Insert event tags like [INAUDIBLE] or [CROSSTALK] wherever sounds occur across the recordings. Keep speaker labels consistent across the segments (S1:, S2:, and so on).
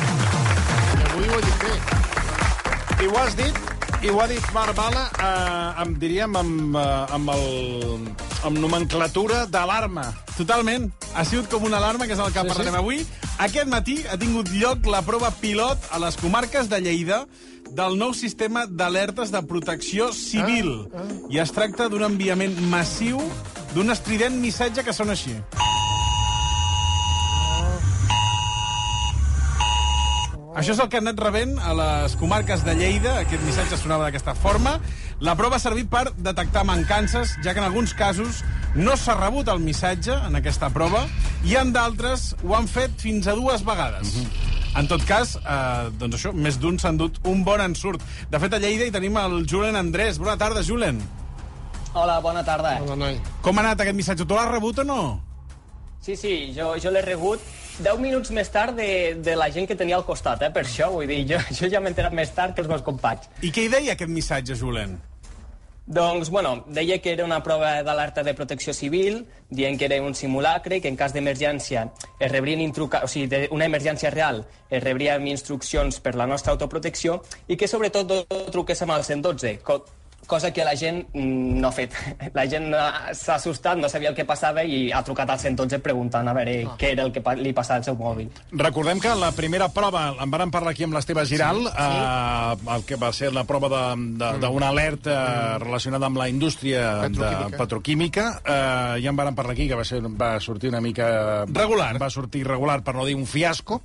S1: Avui ho he dit bé.
S2: I ho has dit, i ho ha dit Marc Bala, eh, amb, diríem, amb, eh, amb, el, amb nomenclatura d'alarma. Totalment. Ha sigut com una alarma, que és el que sí, parlarem sí. avui. Aquest matí ha tingut lloc la prova pilot a les comarques de Lleida del nou sistema d'alertes de protecció civil. Ah, ah. I es tracta d'un enviament massiu d'un estrident missatge que sona així. Això és el que han anat rebent a les comarques de Lleida. Aquest missatge sonava d'aquesta forma. La prova ha servit per detectar mancances, ja que en alguns casos no s'ha rebut el missatge en aquesta prova i en d'altres ho han fet fins a dues vegades. En tot cas, eh, doncs això, més d'un s'han dut un bon ensurt. De fet, a Lleida hi tenim el Julen Andrés. Bona tarda, Julen.
S3: Hola, bona tarda.
S1: Hola, noi.
S2: Com ha anat aquest missatge? Tu l'has rebut o no?
S3: Sí, sí, jo, jo l'he rebut 10 minuts més tard de, de la gent que tenia al costat, eh, per això, vull dir, jo, jo ja m'he enterat més tard que els meus companys.
S2: I què hi deia aquest missatge, Julen?
S3: Doncs, bueno, deia que era una prova d'alerta de protecció civil, dient que era un simulacre i que en cas d'emergència es rebrien intruca... o sigui, d'una emergència real es rebríem instruccions per la nostra autoprotecció i que sobretot no truquéssim al 112, co cosa que la gent mm, no ha fet. [LAUGHS] La gent eh, s'ha assustat, no sabia el que passava i ha trucat al 112 preguntant a veure què era el que pa- li passava al seu mòbil.
S2: Recordem que la primera prova, en vàrem parlar aquí amb l'Esteve Giral, sí, sí. Eh, el que va ser la prova d'una mm. alerta mm. relacionada amb la indústria petroquímica,
S1: Petroquímica.
S2: de petroquímica eh, ja en vàrem parlar aquí, que va, ser, va sortir una mica... Regular. Va sortir regular, per no dir un fiasco.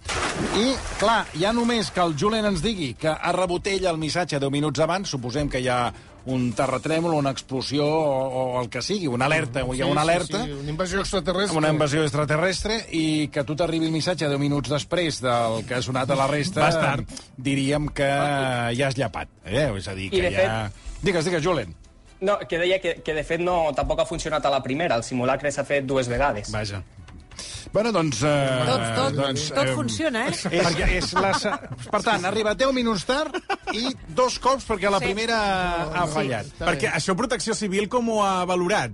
S2: I, clar, ja només que el Julen ens digui que ha rebut ell el missatge 10 minuts abans, suposem que hi ha un terratrèmol, una explosió o, o el que sigui, una alerta, o hi ha una alerta...
S1: Sí, sí, una invasió extraterrestre.
S2: una invasió extraterrestre i que a tu t'arribi el missatge 10 minuts després del que ha sonat a la resta,
S4: Bastard.
S2: diríem que ja has llapat. Eh? És a dir,
S3: I
S2: que
S3: de
S2: ja... Digues, digues, Julen.
S3: No, que deia que, que de fet no, tampoc ha funcionat a la primera, el simulacre s'ha fet dues vegades.
S2: Vaja. Bueno, doncs... Eh,
S5: Tot, tot,
S2: doncs,
S5: tot
S2: eh,
S5: funciona,
S4: [LAUGHS]
S5: eh?
S2: És, perquè és la... se- Per tant, ha arribat 10 minuts tard i dos cops perquè la
S5: Sí.
S2: primera ha fallat.
S1: Està bé.
S2: això Protecció Civil com ho ha valorat?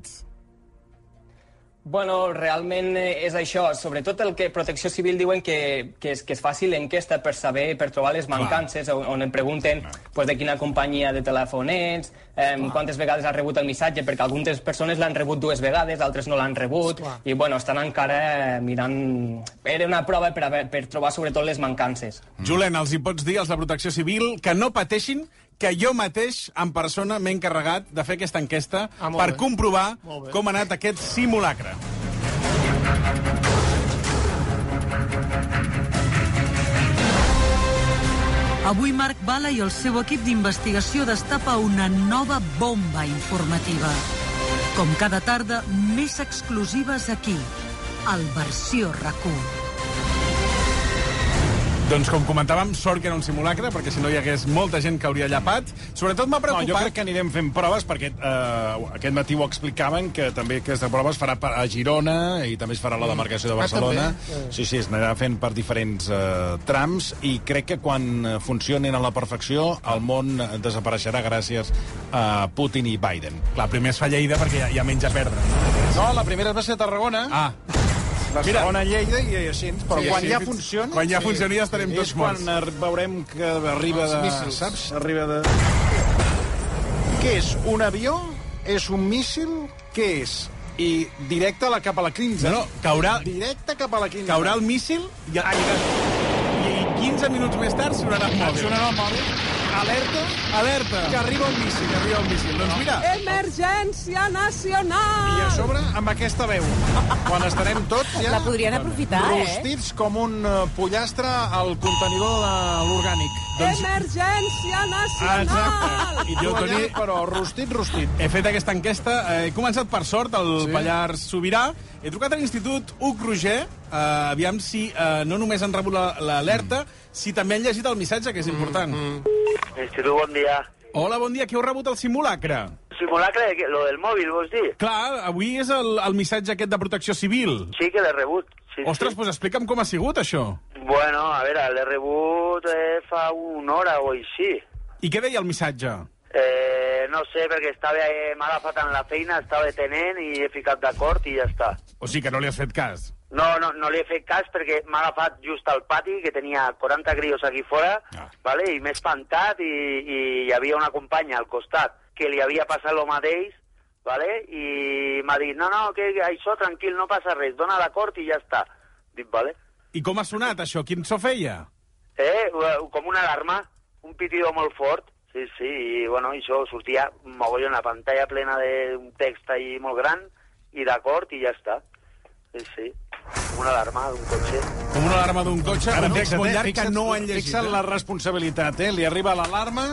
S3: Bueno, realment eh, és això. Sobretot el que Protecció Civil diuen que, que, es, que es faci l'enquesta per saber, per trobar les mancances, on, on em pregunten pues, de quina companyia de telèfon ets, eh, quantes vegades has rebut el missatge, perquè algunes persones l'han rebut dues vegades, altres no l'han rebut,
S1: Esclar.
S3: i bueno, estan encara eh, mirant... Era una prova per, haver, per trobar sobretot les mancances.
S2: Julen, els hi pots dir, als de Protecció Civil, que no pateixin, que jo mateix, en persona, m'he encarregat de fer aquesta enquesta
S1: Ah, molt
S2: per
S1: bé.
S2: comprovar
S1: Molt bé.
S2: com ha anat aquest simulacre.
S6: Avui Marc Bala i el seu equip d'investigació destapa una nova bomba informativa. Com cada tarda, més exclusives aquí, al Versió RAC1.
S2: Doncs com comentàvem, sort que era un simulacre, perquè si no hi hagués molta gent que hauria llapat. Sobretot m'ha
S4: No,
S2: preocupat...
S4: jo crec que anirem fent proves, perquè eh, aquest matí ho explicaven, que també aquesta prova es farà per- a Girona i també es farà
S2: Mm.
S4: a la demarcació de
S2: Ah,
S4: Barcelona.
S1: també, eh.
S4: sí, sí, es anirà fent per diferents eh, trams i crec que quan eh, funcionin a la perfecció el món eh, desapareixerà gràcies a Putin i Biden.
S2: Clar, primer es fa Lleida perquè hi ha, hi ha menys a perdre.
S4: No, la primera va ser a Tarragona, ah.
S2: Ah,
S4: la
S2: mira.
S4: segona a Lleida i així, però
S1: Sí,
S4: sí, quan
S1: sí.
S4: ja funciona...
S2: quan ja funcioni ja estarem
S4: És
S2: tots
S4: quan
S2: morts.
S4: ar- veurem que arriba
S1: Els
S4: de...
S1: míssils.
S4: Saps? Arriba de... Què és? Un avió? És un míssil? Què és? I directe a la, cap a la
S2: No,
S4: crinza.
S2: no, caurà,
S4: Directe cap a la crinza.
S2: caurà el míssil i, i, i 15 minuts més tard sonarà el mòbil.
S4: Sonarà el mòbil. Alerta
S2: Alerta!
S4: que arriba un míssil.
S2: Que arriba un míssil. Doncs mira,
S5: Emergència
S4: I a
S5: nacional!
S4: sobre, amb aquesta veu. Quan estarem tots ja...
S5: La podrien aprofitar, eh?
S4: Rostits com un eh, pollastre al contenidor de l'orgànic.
S2: Doncs-
S5: Emergència nacional!
S2: Exacte. I jo, Toni,
S1: però rostit, rostit.
S2: he fet aquesta enquesta. eh, He començat per sort al sí? Pallars Sobirà. He trucat a l'Institut Uc Roger, eh, aviam si eh, no només han rebut la- l'alerta, si també han llegit el missatge, que és important.
S4: Mm,
S7: Institut, bon dia.
S2: Hola, bon dia. Qui heu rebut el simulacre?
S7: Simulacre, de que- lo del mòbil, vols dir?
S2: Clar, avui és el, el missatge aquest de protecció civil.
S7: Sí que l'he rebut. Sí,
S2: Ostres,
S7: sí.
S2: doncs explica'm com ha sigut això.
S7: Bueno, a veure, l'he rebut eh, fa una hora o així.
S2: I què deia el missatge?
S7: Eh, no sé, perquè estava, eh, m'ha agafat en la feina, estava tenent i he ficat d'acord i ja està.
S2: O sigui que no li has fet cas.
S7: No, no, no li he fet cas perquè m'ha agafat just al pati, que tenia 40 grios aquí fora,
S2: Ah.
S7: vale? i m'he espantat i, i hi havia una companya al costat que li havia passat el mateix, vale? i m'ha dit, no, no, que això tranquil, no passa res, dona l'acord i ja està. Dic, vale.
S2: I com ha sonat això? Quin so feia?
S7: Eh, eh, com una alarma, un pitido molt fort, sí, sí, i bueno, i això sortia un mogolló, una pantalla plena d'un text ahí molt gran, i d'acord, i ja està. Sí, sí, com una alarma d'un cotxe.
S2: Com una alarma d'un cotxe,
S4: Ara,
S2: un text
S4: fixa't,
S2: molt
S4: eh,
S2: llarg que
S4: fixa't,
S2: no han llegit.
S4: Fixa't
S2: eh?
S4: la responsabilitat, eh? Li arriba l'alarma,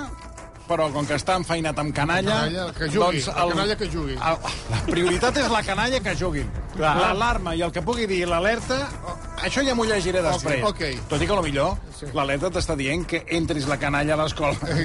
S4: però com que està enfeinat amb canalla... doncs
S1: Canalla, que jugui, la canalla que jugui.
S4: El, la prioritat és la canalla que juguin. L'alarma i el que pugui dir l'alerta, oh, això ja m'ho llegiré després.
S1: ok.
S4: Tot i que a lo millor
S1: Sí.
S4: l'alerta t'està dient que entris la canalla a l'escola
S1: sí.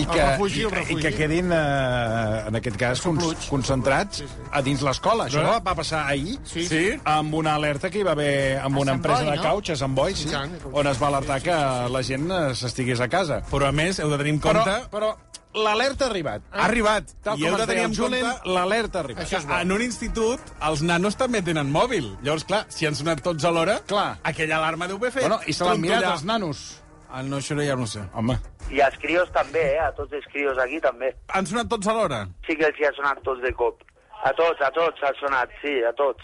S4: i, que,
S1: El refugi, el
S4: i, i
S1: refugi.
S4: que quedin, eh, en aquest cas, cons, concentrats a dins l'escola. Això
S2: No?
S4: va passar ahir
S1: Sí.
S4: amb una alerta que hi va haver amb una
S1: Sant
S4: empresa
S1: Boi,
S4: de
S1: no?
S4: couches, amb Boi, sí,
S1: I tant.
S4: on es va alertar que la gent eh, s'estigués a casa.
S2: Però, a més, heu de tenir en
S4: Però,
S2: compte...
S4: però l'alerta ha arribat.
S2: Ha arribat.
S4: Tal
S2: I heu
S4: com
S2: de
S4: ens
S2: tenir
S4: deia
S2: en
S4: en
S2: compte...
S4: Julen, l'alerta ha arribat.
S1: Això és bo.
S2: En un institut, els nanos també tenen mòbil. Llavors, clar, si han sonat tots alhora,
S4: Clar.
S2: aquella alarma deu haver fet.
S4: Bueno, I se l'han mirat
S2: nanos.
S4: els nanos.
S2: Ah, no, això ja no ho sé.
S4: Home,
S7: I als crios també, eh? A tots els crios aquí també.
S2: Han sonat tots alhora.
S7: Sí que els hi ha sonat tots de cop. A tots, a tots ha sonat, sí, a tots.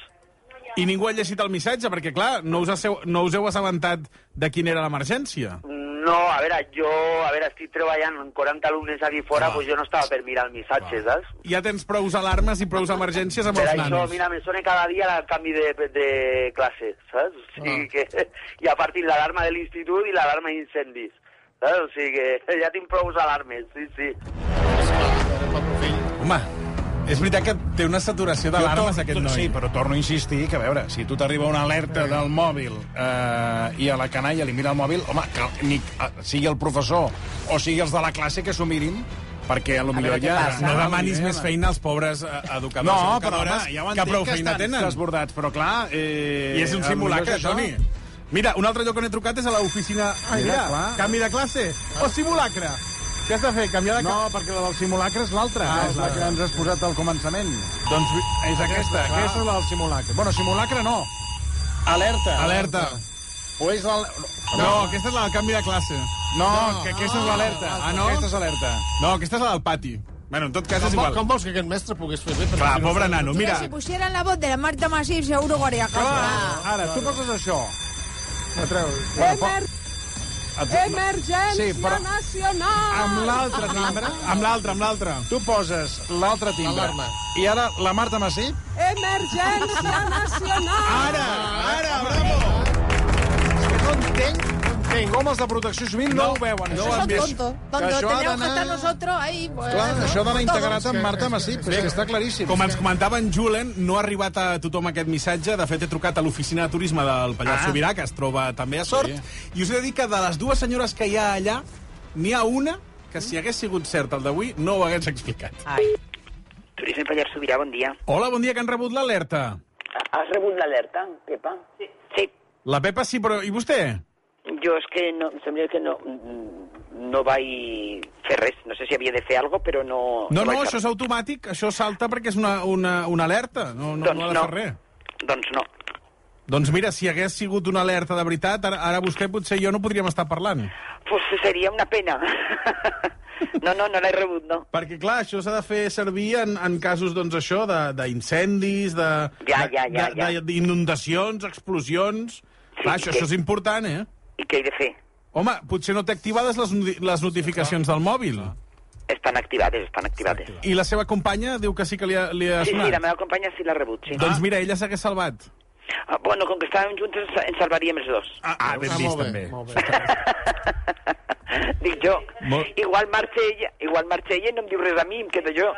S2: I ningú ha llegit el missatge, perquè, clar, no us, asseu, no us heu assabentat de quina era l'emergència.
S7: No, a veure, jo, a veure, estic treballant amb 40 alumnes aquí
S2: Ah.
S7: fora, doncs jo no estava per mirar el missatge, saps?
S2: Ja tens prous alarmes i prous emergències amb
S7: Per
S2: Ah. els
S7: això,
S2: nanos.
S7: mira, me sona cada dia el canvi de, de classe, saps? O
S2: Ah.
S7: sigui que, I a partir l'alarma de l'institut i l'alarma d'incendis. Saps? O sigui que [LAUGHS] ja tinc prou alarmes, sí, sí.
S2: Home, és veritat que té una saturació d'alarmes, aquest noi.
S4: Sí, però torno a insistir que, a veure, si a tu t'arriba una alerta del mòbil eh, i a la canalla li mira el mòbil, home, que ni, eh, sigui el professor o sigui els de la classe que s'ho mirin, perquè a lo millor
S7: què
S4: ja...
S7: passa.
S2: No demanis més feina als pobres eh, educadors i
S4: No, però home,
S2: educadores
S4: ja ho
S2: que
S4: entenc
S2: prou
S4: que
S2: feina
S4: estan
S2: tenen.
S4: desbordats, però clar... Eh,
S2: I és un
S4: a lo millor
S2: simulacre,
S4: és això. Ah,
S2: Toni. Mira, un altre lloc on he trucat és a l'oficina... Ai,
S4: Mira,
S2: mira,
S4: clar.
S2: canvi de classe o simulacre. Què has de fer? Canviar de...
S4: No,
S2: No.
S4: perquè la del simulacre és l'altra,
S2: Ah,
S4: ah, és la
S2: clar.
S4: que ens has posat al començament.
S2: Doncs
S4: És aquesta, aquesta és la del simulacre. Bueno, simulacre no. Alerta.
S2: Alerta.
S4: O és la...
S2: No, aquesta és la del canvi de classe.
S4: No, que aquesta és l'alerta.
S2: Ah, no?
S4: Aquesta és alerta.
S2: No, aquesta és la del pati. Bueno, en tot cas és
S1: Com, vol-
S2: igual.
S1: com vols que aquest mestre pogués fer bé?
S2: Clar, pobre nano, mira.
S5: Si pusieran la voz de la Marta Masif, seguro que haría caso.
S4: Ara, tu poses això.
S1: No treus.
S5: Emer-
S4: Et-
S5: Emergència
S4: Sí, però-
S5: nacional!
S4: Amb l'altre timbre...
S2: Amb l'altra, amb l'altra.
S4: Tu poses l'altre timbre.
S1: L'alarma.
S4: I ara la Marta Massip... [LAUGHS]
S5: Emergència nacional!
S4: Ara, ara, bravo! És que no entenc, no entenc com els de protecció civil no,
S2: No,
S4: ho veuen.
S2: no
S4: això.
S2: ho han vist.
S5: Tonto,
S4: Que
S5: tonto,
S4: això ha
S5: tendríamos que
S4: d'anar-
S5: estar eh? nosotros ahí. Pues,
S4: Clar,
S5: ¿no?
S4: això d'anar integrat
S1: Todos.
S4: amb Marta Massip, és que està claríssim.
S2: Com ens comentava en Julen, no ha arribat a tothom aquest missatge. De fet, he trucat a l'oficina de turisme del Pallars
S4: Ah.
S2: Sobirà, que es troba també a Sort, sí. i us he de dir que de les dues senyores que hi ha allà, n'hi ha una que si hagués sigut cert el d'avui no ho hagués explicat.
S7: Turisme Pallars Sobirà, bon dia.
S2: Hola, bon dia, que han rebut l'alerta.
S7: Has rebut l'alerta, Pepa? Sí. sí.
S2: La Pepa sí, però... I vostè?
S7: Jo és que no, em sembla que no, mm, no vaig fer res. No sé si havia de fer alguna però no...
S2: No, no, això és automàtic, això salta perquè és una, una, una alerta, no, no, no ha de fer res.
S7: Doncs no.
S2: Doncs mira, si hagués sigut una alerta de veritat, ara, ara vostè potser i jo no podríem estar parlant.
S7: Pues seria una pena. [LAUGHS] no, no, no l'he rebut, no.
S2: Perquè, clar, això s'ha de fer servir en, en casos, doncs, això, de- d'incendis, de,
S7: Ja,
S2: de,
S7: ja, ja,
S2: de,
S7: ja.
S2: d'inundacions, explosions...
S7: Sí,
S2: clar, això,
S7: sí.
S2: això és important, eh?
S7: I què he de fer?
S2: Home, potser no té activades les, noti- les notificacions del mòbil.
S7: Estan activades, estan activades.
S2: I la seva companya diu que sí que li ha, li ha
S7: Sí, sí, la
S2: sonat.
S7: meva companya sí l'ha rebut, sí.
S2: Doncs mira, ella s'hagués salvat.
S7: Ah, bueno, com que estàvem juntes, ens salvaríem els dos.
S2: Ah, ah ben
S1: Ah,
S2: vist,
S1: molt bé,
S2: també.
S1: molt bé.
S7: [LAUGHS] Dic jo.
S2: Molt-
S7: Igual marxa ella, igual marxa ella i no em diu res a mi, em quedo jo.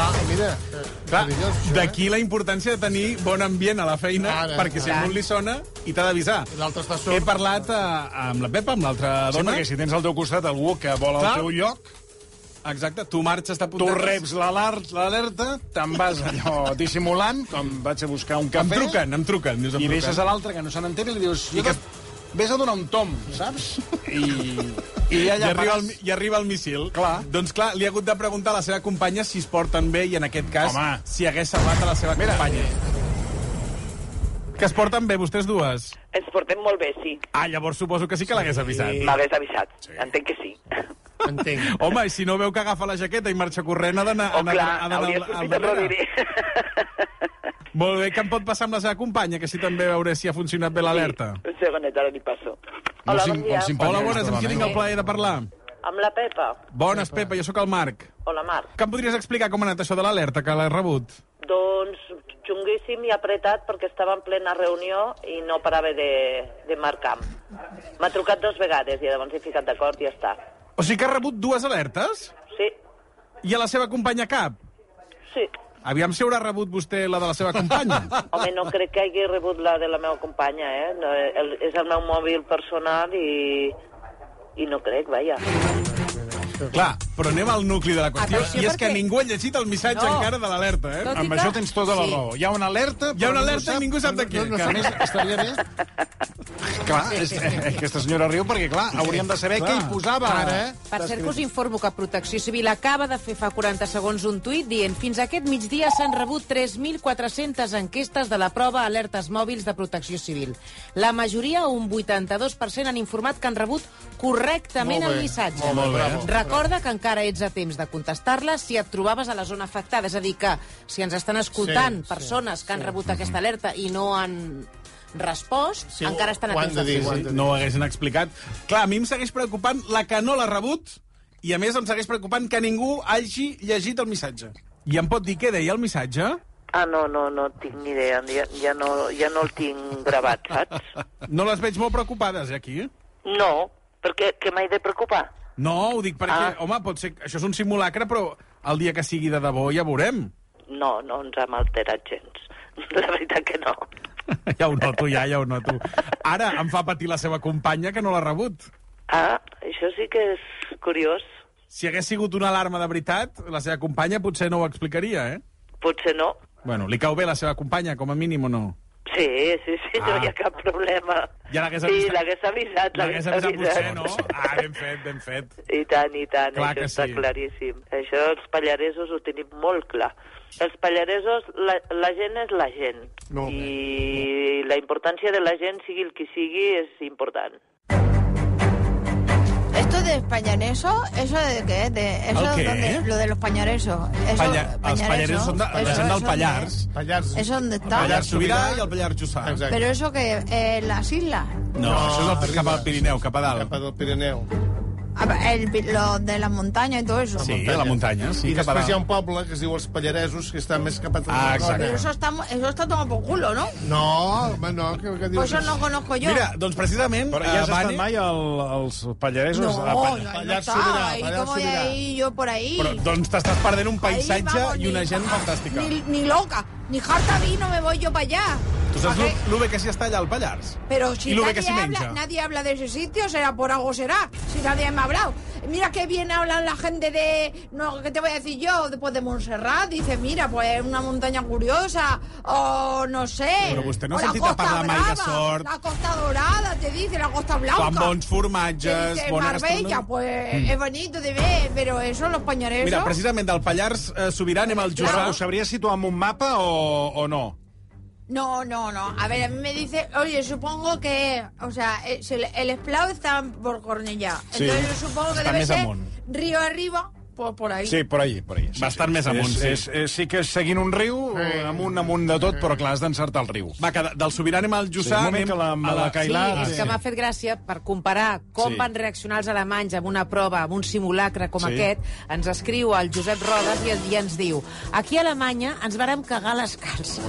S1: Ah, mira, eh,
S2: Clar,
S1: perillós, això,
S2: d'aquí
S4: eh?
S2: la importància de tenir bon ambient a la feina,
S1: Ara,
S2: perquè si a
S1: clar.
S2: un li sona, i t'ha d'avisar.
S1: eh? L'altre està
S2: He
S1: sort.
S2: parlat eh, amb la Pepa, amb l'altra
S4: Sí,
S2: dona.
S4: perquè si tens al teu costat algú que vol el
S2: Clar.
S4: teu lloc,
S2: Exacte, tu marxes de
S4: tu
S2: puntetes.
S4: reps l'alar- l'alerta, te'n vas allò dissimulant, com vaig a buscar un
S2: Em
S4: cafè...
S2: truquen, em truquen. Dius, em
S4: I
S2: truquen.
S4: deixes a l'altre que no se n'entén i li dius... I que... Vés a donar un tom, saps? I, i
S2: I
S4: allà
S2: arriba, el,
S4: pares.
S2: I arriba el missil.
S4: Clar.
S2: Doncs clar, li ha hagut de preguntar a la seva companya si es porten bé i en aquest cas
S4: Home.
S2: si hagués salvat a la seva
S4: Mira.
S2: companya. Que es porten bé vostès dues?
S7: Ens portem molt bé, sí.
S2: Ah, llavors suposo que sí que l'hagués avisat.
S7: M'hagués avisat. Entenc que sí.
S1: Entenc.
S2: Home, i si no veu que agafa la jaqueta i marxa corrent, ha d'anar...
S7: Oh,
S2: ha d'anar-
S7: clar,
S2: ha d'anar
S7: hauria
S2: al- al
S7: sortit a
S2: darrere.
S7: Rodríguez. [LAUGHS]
S2: Molt bé, que em pot passar amb la seva companya, que així també veuré si ha funcionat bé l'alerta.
S7: Un segonet, ara li passo. Hola,
S4: sim-
S7: bon dia.
S4: molt simpàtic.
S2: Hola, bones, amb qui tinc el plaer de parlar?
S8: Amb la Pepa.
S2: Bones, Pepa, jo sóc el Marc.
S8: Hola, Marc.
S2: Que em podries explicar com ha anat això de l'alerta que l'has rebut?
S8: Doncs xunguíssim i apretat perquè estava en plena reunió i no parava de, de marcar. M'ha trucat dos vegades i llavors he ficat d'acord i ja està.
S2: O sigui que ha rebut dues alertes?
S8: Sí,
S2: I a la seva companya cap?
S8: sí.
S2: Aviam si haurà rebut vostè la de la seva
S4: [LAUGHS]
S2: companya.
S8: Home, no crec que hagi rebut la de la meva companya, eh? No, el, és el meu mòbil personal i, i no crec, vaja.
S2: Clar, però anem al nucli de la qüestió.
S5: Atenció,
S2: I és que
S5: perquè-
S2: ningú ha llegit el missatge
S5: No.
S2: encara de l'alerta, eh?
S5: Tot i
S4: Amb
S5: que-
S4: això tens tota la raó. Hi ha una
S2: Hi ha
S4: alerta... però
S2: una
S4: ningú
S2: alerta i ningú sap de què.
S4: No, no, que a més,
S2: [LAUGHS]
S4: estaria bé... Clar, és, eh, aquesta senyora riu perquè, clar, hauríem de saber
S2: Clar.
S4: què hi posava. Ara, eh?
S5: Per cert, que us informo que Protecció Civil acaba de fer fa 40 segons un tuit dient fins aquest migdia s'han rebut 3.400 enquestes de la prova alertes mòbils de Protecció Civil. La majoria, un 82%, han informat que han rebut correctament
S1: Molt bé,
S5: el missatge.
S1: molt bé, Molt bé. eh? bravo.
S5: Recorda que encara ets a temps de contestar-la si et trobaves a la zona afectada. És a dir, que si ens estan escoltant
S1: Sí, sí,
S5: persones que han rebut aquesta alerta i no han respost,
S1: Sí,
S5: encara estan
S1: ho
S5: a
S1: han
S5: temps
S1: de
S5: de
S1: dir,
S5: fer-ho.
S1: ho han de dir.
S2: No ho haguessin explicat. Clar, a mi em segueix preocupant la que no l'ha rebut i, a més, em segueix preocupant que ningú hagi llegit el missatge. I em pot dir què deia el missatge?
S8: Ah, no, no, no tinc ni idea. Ja, ja, no, ja no el tinc gravat, saps?
S2: No les veig molt preocupades, eh, aquí.
S8: No, perquè que m'he de preocupar.
S2: No, ho dic
S4: Ah.
S2: perquè, home, pot ser... Això és un simulacre, però el dia que sigui de debò ja veurem.
S8: No, no ens hem alterat gens. [LAUGHS] La veritat que no.
S2: [LAUGHS] Ja ho noto, ja, ja ho noto. Ara em fa patir la seva companya que no l'ha rebut.
S8: Ah, això sí que és curiós.
S2: Si hagués sigut una alarma de veritat, la seva companya potser no ho explicaria, eh?
S8: Potser no.
S2: Bueno, li cau bé la seva companya, com a mínim, o no?
S8: Sí, sí, sí, no
S2: Ah.
S8: hi ha cap problema.
S2: Ja l'hagués
S8: sí,
S2: avisat.
S8: l'hagués avisat, l'hagués avisat.
S2: potser, no? Ah, ben fet, ben fet.
S8: I tant, i tant,
S2: Clar que
S8: això està
S2: sí.
S8: claríssim. Això els pallaresos ho tenim molt clar. Els pallaresos, la, la gent és la gent.
S1: Molt
S8: I la importància de la gent, sigui el que sigui, és important.
S9: Esto de pañareso, ¿eso de qué? De, eso
S2: ¿El qué?
S9: donde- lo de los pañaresos. Eso,
S2: Palla... Els pallaresos són de... la gent del Pallars.
S1: Pallars.
S9: Eso donde
S1: El
S9: está.
S2: Pallars Sobirà i el Pallars Jussà.
S1: Exacte.
S9: Pero eso que eh, las islas,
S2: No, això és el... cap al Pirineu, cap a
S1: Cap
S2: dalt.
S1: al Pirineu.
S9: Ah, el pi- lo de las montañas y todo eso.
S2: Sí, a la muntanya, sí,
S1: I
S2: cap a
S1: després hi ha
S2: dalt.
S1: un poble que es diu Els Pallaresos, que està més cap a
S2: Ah,
S9: Pero
S2: exacte.
S9: eso está, eso está tomado por culo, ¿no?
S1: No, home, no. Que, que dius...
S9: Pues eso no conozco yo.
S2: Mira, doncs precisament...
S4: Però ja
S2: eh,
S4: has estat
S2: Vane-
S4: mai al, als
S9: no,
S4: Pallaresos? Ah, a
S9: no,
S4: Pall-
S9: no,
S1: Pallars
S9: está.
S1: Sobirà,
S9: Ahí
S1: Pallars
S9: como voy
S1: Sobirà.
S9: a ir yo por ahí.
S2: Però, doncs t'estàs perdent un
S9: Ahí,
S2: paisatge
S9: vamos,
S2: i una
S9: ni-
S2: gent fantàstica.
S9: Ni, ni loca, ni harta vino me voy yo para allá.
S2: Tu
S9: ¿Pa
S2: saps
S9: qué?
S2: lo, lo bé que s'hi està allà, al Pallars?
S9: Pero si
S2: Y lo ve
S9: nadie,
S2: que sí menja.
S9: habla, nadie habla de ese sitio, será por algo será. Si nadie me ha hablado. Mira qué bien hablan la gente de. No, ¿Qué te voy a decir yo? Después de Montserrat. Dice, mira, pues una montaña curiosa. O no sé.
S2: Pero pues usted no
S9: o
S2: ha
S9: la
S2: sentido
S9: Costa
S2: parlar mai de
S9: Brava,
S2: sort.
S9: La Costa Dorada, te dice, la Costa Blanca.
S2: Fan bons
S9: Te
S2: formatges,
S9: dice
S2: bona
S9: Marbella,
S2: gastronomia...
S9: pues es bonito de ver, pero eso, los
S2: Mm.
S9: pañaresos.
S2: Mira, precisament del Pallars eh, Sobirà anem al
S4: Però
S2: Jussà.
S4: ho sabries situar amb un mapa o, o no?
S9: No, no, no. A ver, a mí me dice, oye, supongo que, o sea, eh, si el, el Esplau está por Cornellá.
S4: Sí,
S9: Entonces yo supongo que
S4: está
S9: debe
S4: Mesa
S9: ser
S4: Mon.
S9: río arriba, por, por ahí.
S4: Sí, per allí, per allí. Sí,
S2: Bastant
S4: sí.
S2: més amunt,
S4: és,
S2: sí.
S4: És, és, sí que és seguint un riu, eh. amunt, amunt de tot, però clar, has d'encertar el riu.
S2: Va, que de- del Sobirà anem al Jussà,
S4: Sí, un moment
S2: anem
S4: que la-
S2: a la
S4: la-
S5: Sí,
S2: Cailà.
S5: és que m'ha fet gràcia per comparar com
S2: Sí.
S5: sí. van reaccionar els alemanys amb una prova, amb un simulacre com
S2: Sí.
S5: sí. aquest. Ens escriu el Josep Rodes i, i ens diu aquí a Alemanya ens vàrem cagar les calces.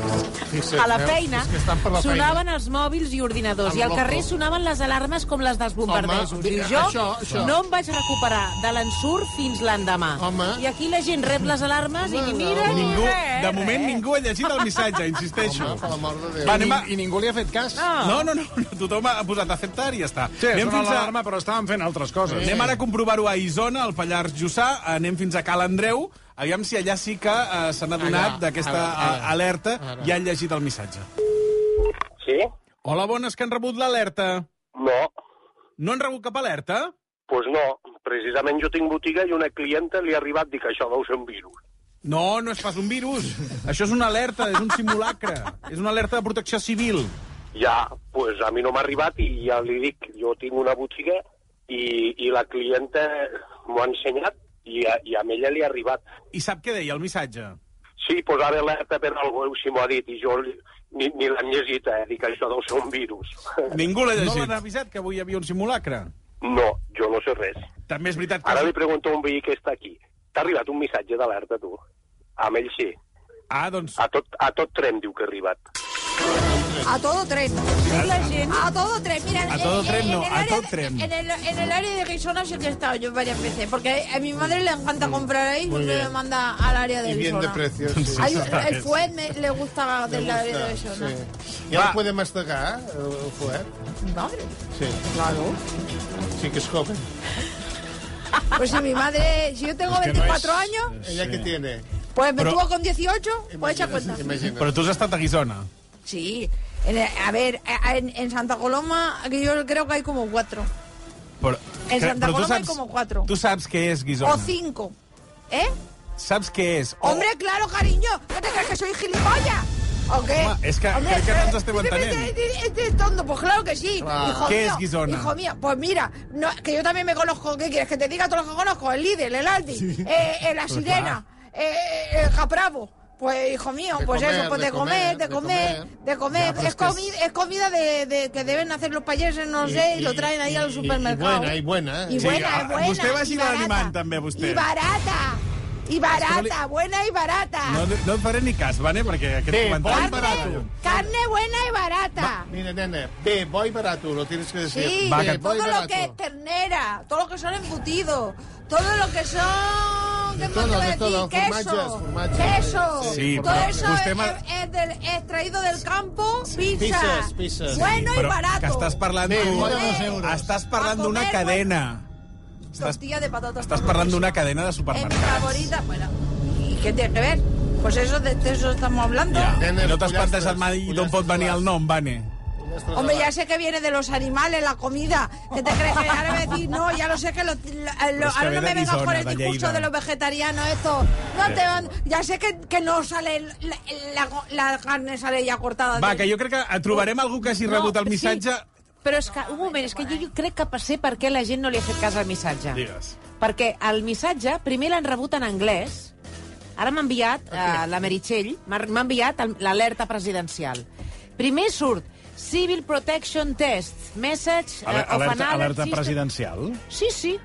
S1: Sí,
S5: A la
S1: veus?
S5: feina
S1: És que estan per la feina.
S5: sonaven els mòbils i ordinadors
S1: Amb
S5: i al
S1: loco.
S5: carrer sonaven les alarmes com les dels bombardejos.
S1: Home,
S5: Diu,
S1: mira,
S5: jo
S1: això, això.
S5: no em vaig recuperar de l'ensurt fins l'endemà.
S1: Home.
S5: I aquí la gent rep les alarmes i ni mira ni
S2: Ningú,
S5: res.
S2: de moment ningú ha llegit el missatge, insisteixo.
S1: Home, per la mort de Déu.
S2: Va,
S4: I,
S2: anem a...
S4: ni- I ningú li ha fet cas?
S2: No, no, no, no, tothom ha posat acceptar i ja està.
S4: Sí,
S2: anem fins a...
S4: l'arma, però estàvem fent altres coses.
S2: Anem ara a comprovar-ho a Isona, al Pallars Jussà, anem fins a Cal Andreu, aviam si allà sí que eh, s'han adonat
S1: Allà,
S2: d'aquesta
S1: ara, ara,
S2: eh, alerta
S1: ara.
S2: i han llegit el missatge.
S7: Sí?
S2: Hola, bones, que han rebut l'alerta.
S7: No.
S2: No han rebut cap alerta?
S7: Doncs pues no, precisament jo tinc botiga i una clienta li ha arribat dic això deu ser un virus.
S2: No, no és pas un virus. Això és una alerta, és un simulacre. És una alerta de protecció civil.
S7: Ja, pues a mi no m'ha arribat i ja li dic, jo tinc una botiga i, i la clienta m'ho ha ensenyat i a, i a ella li ha arribat.
S2: I sap què deia el missatge?
S7: Sí, posava alerta per algú, si m'ho ha dit, i jo li- ni, ni l'hem llegit, eh? Dic, això deu ser un virus. [LAUGHS]
S2: Ningú l'ha
S4: No
S2: llegit.
S4: l'han avisat que avui hi havia un simulacre?
S7: No, jo no sé res.
S2: També és veritat que...
S7: Ara li pregunto a un veí que està aquí. T'ha arribat un missatge d'alerta, tu? Amb ell sí.
S2: Ah, doncs...
S7: A tot, a tot tren diu que ha arribat.
S9: A todo tren. A todo tren, mira.
S2: A todo
S9: eh,
S2: tren
S9: eh,
S2: no,
S9: en el
S2: a
S9: área-
S2: todo tren.
S9: En el, en el área de Guisona sí que he estado yo varias veces, porque a mi madre le encanta comprar ahí y siempre me manda al área de
S1: Y bien de
S9: Guisona.
S1: precios. Sí.
S9: Hay un- el fuet me- le gusta
S1: Me
S9: del área de
S1: gusta,
S9: Guisona.
S1: sí. Ja
S2: Va.
S1: el podem mastegar, eh, el fuet?
S9: Mi madre.
S1: Sí.
S9: Claro.
S1: Sí que es joven.
S9: Pues si mi madre, si yo tengo 24 años,
S1: Ella que tiene.
S9: pues me
S2: Pero-
S9: tuvo con 18, pues echa cuenta.
S1: Imagina.
S2: Però tu has estat a Guisona.
S9: Sí. En el- a ver, a- en, en Santa Coloma, que yo creo que hay como cuatro.
S2: Però, que-
S9: En Santa
S2: però tu
S9: Coloma hay
S2: saps-
S9: como cuatro.
S2: Tu saps què és Guisona.
S9: O cinco. ¿Eh?
S2: Saps què és? O-
S9: Hombre, claro, cariño. ¿No te crees que soy gilipollas? ¿O qué?
S2: Home, és que crec que no ens estem
S9: eh,
S2: entenent.
S9: eh, eh, Este es tonto, pues claro que sí.
S1: Ah.
S9: Hijo
S2: Què
S9: mío,
S2: és Guisona?
S9: Hijo mío, pues mira, no, que yo también me conozco. ¿Qué quieres? Que te diga todos los que conozco. El líder, el Aldi, eh, eh, la sirena, eh, eh, el capravo. Pues, hijo mío,
S1: De
S9: pues
S1: comer,
S9: eso, pues de
S1: de
S9: comer,
S1: comer,
S9: de
S1: de
S9: comer,
S1: comer.
S9: de comer.
S1: Ya, pero
S9: es,
S1: es que es-
S9: comi- es comida de, de- que deben hacer los payeses, no sé, y, lo traen ahí al
S1: y-
S9: supermercado.
S1: Y buena, y buena.
S9: I
S1: eh?
S2: Sí,
S9: buena,
S2: ah,
S9: és buena.
S2: vostè va
S9: i
S2: girar
S9: barata.
S2: animant, també, vostè.
S9: I barata. I barata, buena i barata.
S2: No, no et faré ni cas, Vane, perquè aquest
S1: Bé,
S2: comentari...
S1: bon
S9: carne, carne buena y barata.
S1: Mira, nena, ve, voy barato, lo tienes que decir.
S9: Ah. Sí,
S1: Ve,
S2: que-
S9: todo
S1: voy
S9: lo
S1: barato.
S9: que es ternera, todo lo que son embutidos, todo lo que son...
S1: De
S9: ¿Qué más
S1: todo,
S9: te
S1: de
S9: voy a
S1: todo,
S9: decir? Queso,
S1: formatges, formatges.
S9: queso,
S2: Sí,
S9: todo
S2: però
S9: eso
S2: vostè
S9: es,
S2: m'ha-
S9: es del- es traído del campo, pizza,
S1: Pizzas, pizzas.
S9: bueno y
S2: Però
S9: barato,
S2: que estàs parlant...
S1: Bé,
S2: d'un-
S1: igual a dos euros.
S2: Estàs
S9: A
S2: parlant d'una
S9: comer,
S2: cadena. Estàs,
S9: tortilla de patatas.
S2: estàs parlant d'una cadena de
S9: Es mi
S2: supermercats.
S9: favorita, bueno, ¿y qué tiene que ver? Pues eso, de de eso estamos hablando.
S2: Ja.
S1: Nenes,
S2: No t'has plantejat
S1: pollastres,
S2: mai d'on pot
S1: pollastres
S2: venir el
S1: solars.
S2: nom, Vane.
S1: Nuestros
S9: Hombre, ya
S1: avances.
S9: sé que viene de los animales, la comida. ¿Qué te crees que ahora me decís? No, ya lo sé que lo, eh, lo- lo-
S2: es que
S9: ahora
S2: ve de
S9: no me vengas
S2: Arizona,
S9: con el
S2: de
S9: discurso
S2: Lleida.
S9: de los vegetarianos esto. No te van, ya sé que, que no sale el- la, la- la carne sale ya cortada.
S2: Va, que jo crec que trobarem algú que hagi rebut el missatge...
S5: Sí, però és que, un moment, és que jo, jo crec que sé per què la gent no li ha fet cas al missatge.
S2: Digues.
S5: Perquè el missatge, primer l'han rebut en anglès, ara m'ha enviat eh, la Meritxell, m'ha m'ha enviat el- l'alerta presidencial. Primer surt Civil Protection Test, message eh, of an
S4: Alerta,
S5: alert
S4: alerta
S5: system-
S4: presidencial?
S5: Sí, sí.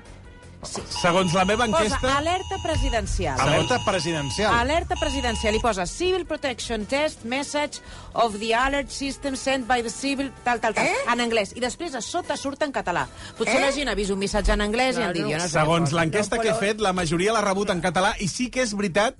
S2: Segons la meva
S5: Posa
S2: enquesta...
S5: alerta presidencial.
S4: Alerta presidencial.
S5: Alerta presidencial i posa Civil Protection Test Message of the Alert System sent by the Civil... Tal, tal, tal, eh? en anglès. I després a sota surt en català. Potser eh? la gent ha vist un missatge en anglès claro. i en diu... Jo no sé
S2: Segons
S5: què
S2: l'enquesta que he fet, la majoria l'ha rebut en català i sí que és veritat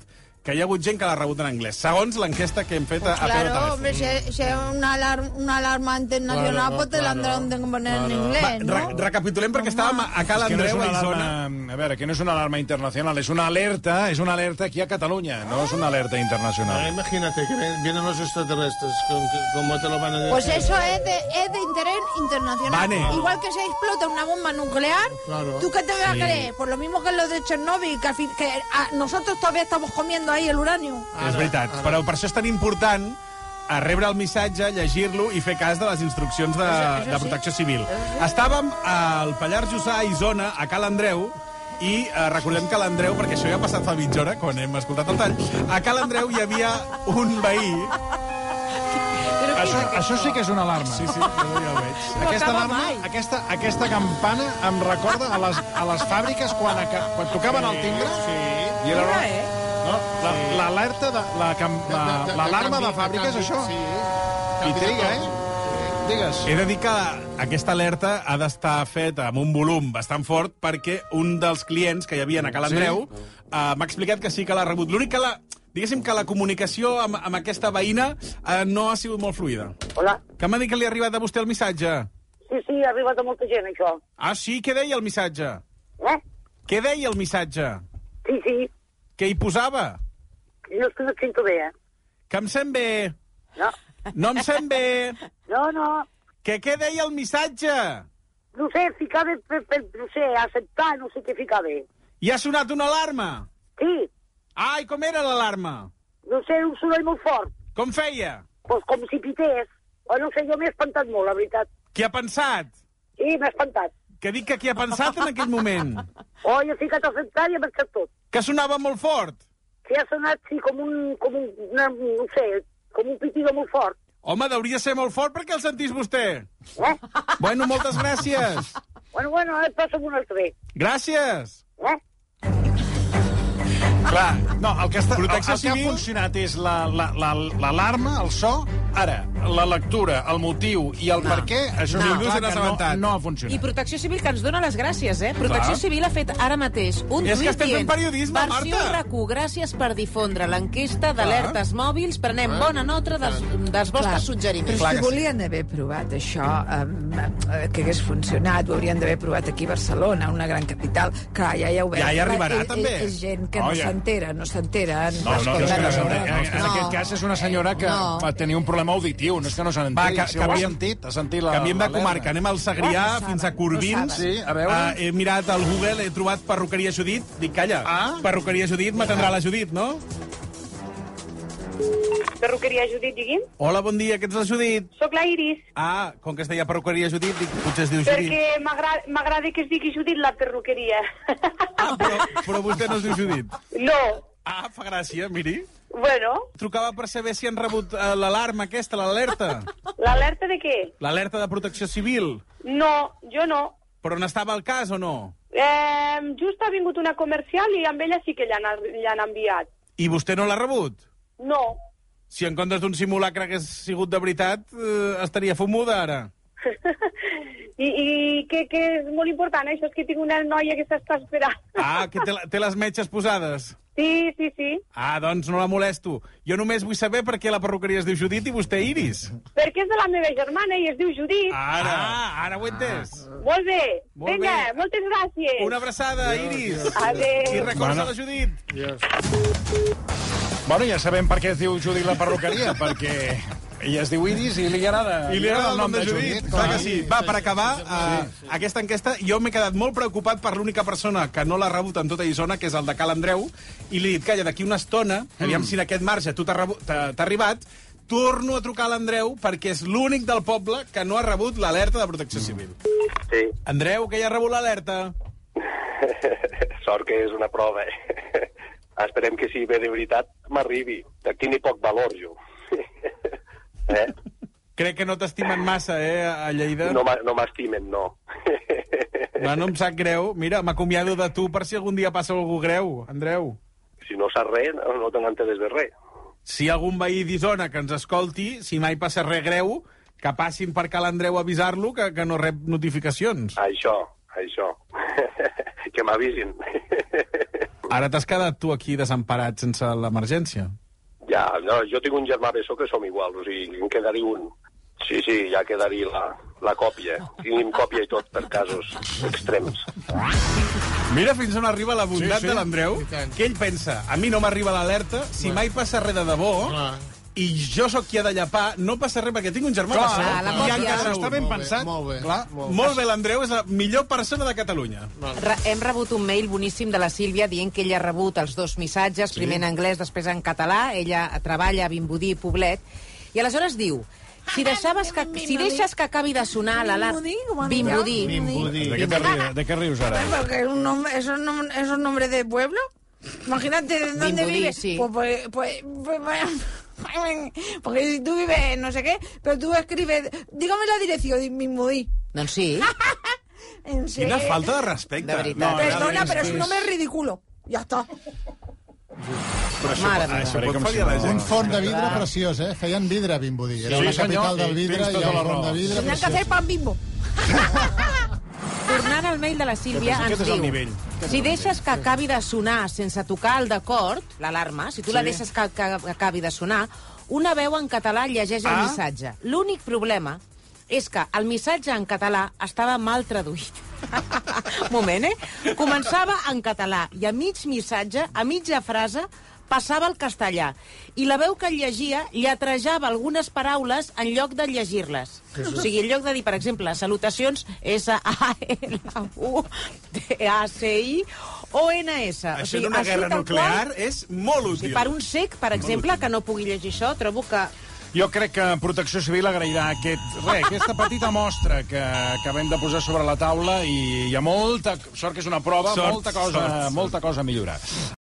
S2: que hi ha hagut gent que l'ha rebut en anglès. Segons l'enquesta que hem fet a, a peu de
S9: Claro,
S2: telèfon.
S9: hombre, si es si es una, alar- una alarma internacional,
S1: Claro,
S9: pues te la
S1: claro,
S9: tendrán que poner en
S2: Va,
S9: inglés,
S2: re
S9: ¿no?
S2: recapitulem perquè estàvem a Cal
S4: És Ah, que no és
S2: Andreu,
S4: una
S2: a Isona.
S4: alarma, a veure, que no és una alarma internacional, és una alerta, és una alerta aquí a Catalunya, no és una alerta
S1: Ah,
S4: internacional.
S1: imagínate que ven- vienen los extraterrestres, con- con- ¿cómo te lo van a decir?
S9: Pues eso es de, es de interés internacional.
S2: Vale.
S9: Igual que se explota una bomba nuclear,
S1: Claro.
S9: ¿tú qué te vas
S2: Sí.
S9: a creer? Por lo mismo que lo de Chernóbil, que, al fin- que ah, nosotros todavía estamos comiendo ahí el uranio.
S2: és veritat, però per això és tan important a rebre el missatge, llegir-lo i fer cas de les instruccions de,
S9: Això- això
S2: de protecció civil. Estàvem al Pallars Jussà, a Isona, a Cal Andreu, I eh, recordem que a l'Andreu, perquè això ja ha passat fa mitja hora, quan hem escoltat el tall, a Cal Andreu hi havia un veí...
S4: Això, això sí que és una alarma.
S2: Sí, sí, jo ja ho
S4: [LAUGHS]
S2: veig.
S4: No aquesta alarma, aquesta, aquesta campana em recorda a les, a les fàbriques quan, aca, quan tocaven el timbre. Sí. I era una... No, la- l'alerta, de, la, cam- la, l'alarma de fàbrica és això.
S1: Sí.
S4: I triga, eh? Digues.
S2: He de dir que aquesta alerta ha d'estar feta amb un volum bastant fort perquè un dels clients que hi havia a Cal
S4: Sí?
S2: Andreu sí? m'ha explicat que sí que l'ha rebut. L'únic que la... Diguéssim que la comunicació amb, amb aquesta veïna eh, no ha sigut molt fluida.
S10: Hola.
S2: Que m'ha dit que li ha arribat a vostè el missatge.
S10: Sí, sí, ha arribat a molta gent, això.
S2: Ah, sí? Què deia el missatge?
S10: Eh?
S2: Què deia el missatge?
S10: Sí, sí.
S2: Què hi posava?
S10: Jo és que no et sento bé, eh?
S2: Que em sent bé.
S10: No.
S2: No em sent bé.
S10: No, no.
S2: Que què deia el missatge?
S10: No sé, ficava, per, per, no sé, acceptar, no sé què ficava.
S2: I ha sonat una alarma?
S10: Sí.
S2: Ai, com era l'alarma?
S10: No sé, un soroll molt fort.
S2: Com feia?
S10: Pues com si pités. O no sé, jo m'he espantat molt, la veritat.
S2: Qui ha pensat?
S10: Sí, m'he espantat.
S2: Que dic que qui ha pensat en aquell moment?
S10: Oh, jo he ficat a acceptar i he marxat tot.
S2: Que sonava molt fort?
S10: Sí, ha sonat, sí, com un, com un, una, no sé, com un pitido molt fort.
S2: Home, deuria ser molt fort perquè el sentís vostè. Bueno, moltes gràcies.
S10: Bueno, bueno, eh, passo amb un altre bé.
S2: Gràcies.
S10: Eh?
S4: Clar, no, el que, està, el, el
S2: Protecció
S4: que ha
S2: Civil-
S4: funcionat és l'alarma, la, la, l'alarma, el so, ara, la lectura, el motiu i el
S5: No.
S4: per què, això
S5: No.
S4: no,
S5: Ningú
S4: clar,
S5: se n'ha
S4: que no,
S5: assabentat.
S4: no ha
S5: I
S4: funcionat.
S5: Protecció Civil, que ens dona les gràcies, eh? Protecció
S4: Clar.
S5: Civil ha fet ara mateix un
S4: És que
S5: tuit
S4: estem fent
S5: dient,
S4: periodisme,
S5: Versió
S4: Marta."
S5: RAC1, gràcies per difondre l'enquesta d'alertes mòbils. Prenem
S9: Clar.
S5: bona nota dels, dels vostres suggeriments.
S4: Ah,
S9: Però si volien haver provat això, eh, eh, que hagués funcionat, ho haurien d'haver provat aquí a Barcelona, una gran capital. Clar, ja hi ha obert.
S4: Ja hi arribarà,
S9: Clar, és,
S4: també.
S9: És, és gent que
S4: Oh,
S9: no
S4: ja.
S9: s'entera, no s'entera.
S4: No, no, no, és que, no, en aquest cas és una senyora que
S9: No.
S4: va tenir un problema auditiu, no és que no se n'entén.
S2: Va, que-
S4: si ho ha
S2: canviem-
S4: sentit, ha sentit la...
S2: Canviem de
S4: l'alerma.
S2: comarca, anem al Segrià
S4: Oh, no saben,
S2: fins a Corbins.
S4: no saben. Sí, a veure.
S2: Ah, he mirat al Google, he trobat perruqueria Judit. Dic, calla, ah? perruqueria Judit, m'atendrà la Judit, no?
S11: Perruqueria Judit, digui'm.
S2: Hola, bon dia, que ets la Judit.
S11: Soc la Iris,
S2: Ah, com que es deia perruqueria Judit, dic, potser es diu Judit.
S11: perquè m'agra- m'agrada que es digui Judit la perruqueria.
S2: Ah. Però vostè no es diu Judit.
S11: [LAUGHS] No,
S2: Ah, fa gràcia, miri.
S11: bueno,
S2: Trucava per saber si han rebut eh, l'alarma aquesta, l'alerta.
S11: l'alerta de què?
S2: L'alerta de protecció civil.
S11: No, jo no.
S2: Però on estava el cas o no?
S11: Eh, just ha vingut una comercial i amb ella sí que l'han ar- l'han enviat.
S2: I vostè no l'ha rebut?
S11: No,
S2: Si en comptes d'un simulacre hagués sigut de veritat, eh, estaria fumuda ara.
S11: i, i que, que és molt important, això és que tinc una noia que s'està esperant.
S2: Ah, que té, la- té les metges posades.
S11: Sí, sí, sí,
S2: Ah, doncs no la molesto. Jo només vull saber per què la perruqueria es diu Judit i vostè Iris.
S11: perquè és de la meva germana i es diu Judit.
S2: Ara, ah, ara ho he entès.
S11: Molt bé,
S2: Molt
S11: vinga,
S2: bé.
S11: moltes gràcies.
S2: Una abraçada, Iris.
S11: Adéu.
S2: I recorda la Judit.
S4: Bueno, ja sabem per què es diu Judit la perruqueria, perquè ella es diu Iris i li agrada,
S2: I li agrada el nom de Judit, clar que sí. Va, per acabar, eh, aquesta enquesta, jo m'he quedat molt preocupat per l'única persona que no l'ha rebut en tota Isona, que és el de Cal Andreu, i li he dit, calla, d'aquí una estona, aviam si en aquest marge tu t'ha rebu- t'ha t'ha arribat, torno a trucar a l'Andreu perquè és l'únic del poble que no ha rebut l'alerta de protecció civil.
S12: Sí,
S2: Andreu, que ja ha rebut l'alerta.
S12: sort que és una prova. eh. [LAUGHS] Esperem que si ve de veritat m'arribi. D'aquí ni poc valor, jo. [LAUGHS] eh?
S2: Crec que no t'estimen massa, eh, a Lleida.
S12: No m'a- no m'estimen, no. [LAUGHS]
S2: Bueno, em sap greu. Mira, m'acomiado de tu per si algun dia passa algú greu, Andreu.
S12: Si no saps res, no, no te n'enteres de res.
S2: si hi ha algun veí d'Isona que ens escolti, si mai passa res greu, que passin per Cal Andreu a avisar-lo que, que no rep notificacions.
S12: Això, això. [LAUGHS] que m'avisin. [LAUGHS]
S2: Ara t'has quedat tu aquí desemparat sense l'emergència.
S12: ja, no, jo tinc un germà bessó que som iguals, o sigui, en quedaria un. Sí, sí, ja quedaria la, la còpia. Tenim còpia i tot per casos extrems.
S2: Mira fins on arriba la bondat
S12: Sí, sí,
S2: sí, sí. de l'Andreu,
S12: i tant.
S2: que ell pensa, a mi no m'arriba l'alerta, si mai passa res de debò, i jo sóc qui ha de llapar, no passa res perquè tinc un germà
S4: Clar,
S2: bessó.
S4: clar, la
S2: I
S4: còpia.
S2: encara està ben
S4: Molt bé,
S2: pensat.
S4: molt bé,
S2: Clar,
S4: molt bé.
S2: molt bé, l'Andreu és la millor persona de Catalunya.
S5: Re hem rebut un mail boníssim de la Sílvia dient que ella ha rebut els dos missatges,
S2: Sí.
S5: primer en anglès, després en català. Ella treballa a Vimbodí i Poblet. I aleshores diu Si, deixaves que, si deixes que acabi de sonar l'alarma... Bimbudí.
S4: Bimbudí. ¿De qué, te ríes, ¿De qué ríos ahora?
S9: Porque es un nombre, es un nom- es un nombre de pueblo. Imagínate de dónde
S5: Bimbudí,
S9: vives.
S5: sí.
S9: Pues, pues, pues, pues, bueno, porque si tú vives en no sé qué, pero tú escribes, dígame la dirección de Bimbudí.
S5: Doncs sí.
S4: Ah,
S9: En serio.
S4: Quina falta de respecte.
S5: De veritat.
S9: Perdona,
S4: realment
S9: pero es un
S4: és-
S9: nombre ridículo. Ya está.
S4: Però això,
S5: Mare
S4: ah, això
S2: meva.
S4: pot faria la
S1: Un
S4: gent.
S1: fort de vidre preciós, eh? Feien vidre a Vimbodí. Era
S4: Sí,
S1: la
S4: senyor,
S1: capital del
S4: sí,
S1: vidre
S4: tens
S1: i
S4: tota
S1: el
S4: la
S1: rom
S4: raó.
S1: de vidre
S9: Tendrán que hacer
S1: preciós.
S9: pan bimbo.
S5: Tornant al mail de la Sílvia,
S4: Aquest
S5: ens
S4: és el
S5: diu...
S4: nivell.
S5: Si deixes que acabi de sonar sense tocar el d'acord, l'alarma, si tu la
S4: Sí.
S5: deixes que, que acabi de sonar, una veu en català llegeix el
S4: Ah.
S5: missatge. L'únic problema és que el missatge en català estava mal traduït. [LAUGHS] Moment, eh? Començava en català i a mig missatge, a mitja frase, passava al castellà. I la veu que llegia lletrejava algunes paraules en lloc de llegir-les. O sigui, en lloc de dir, per exemple, salutacions, S-A-L-U-T-A-C-I, O-N-S. O
S2: Això
S5: sigui,
S2: en una
S5: així,
S2: guerra
S5: tal
S2: nuclear
S5: Qual,
S2: és molt
S5: o sigui,
S2: útil.
S5: per un sec, per exemple, que no pugui llegir això, trobo que...
S4: Jo crec que Protecció Civil agrairà aquest, re, aquesta petita mostra que acabem de posar sobre la taula i hi ha molta... Sort que és una prova,
S2: Sort,
S4: molta cosa,
S2: sort, sort.
S4: molta cosa a millorar.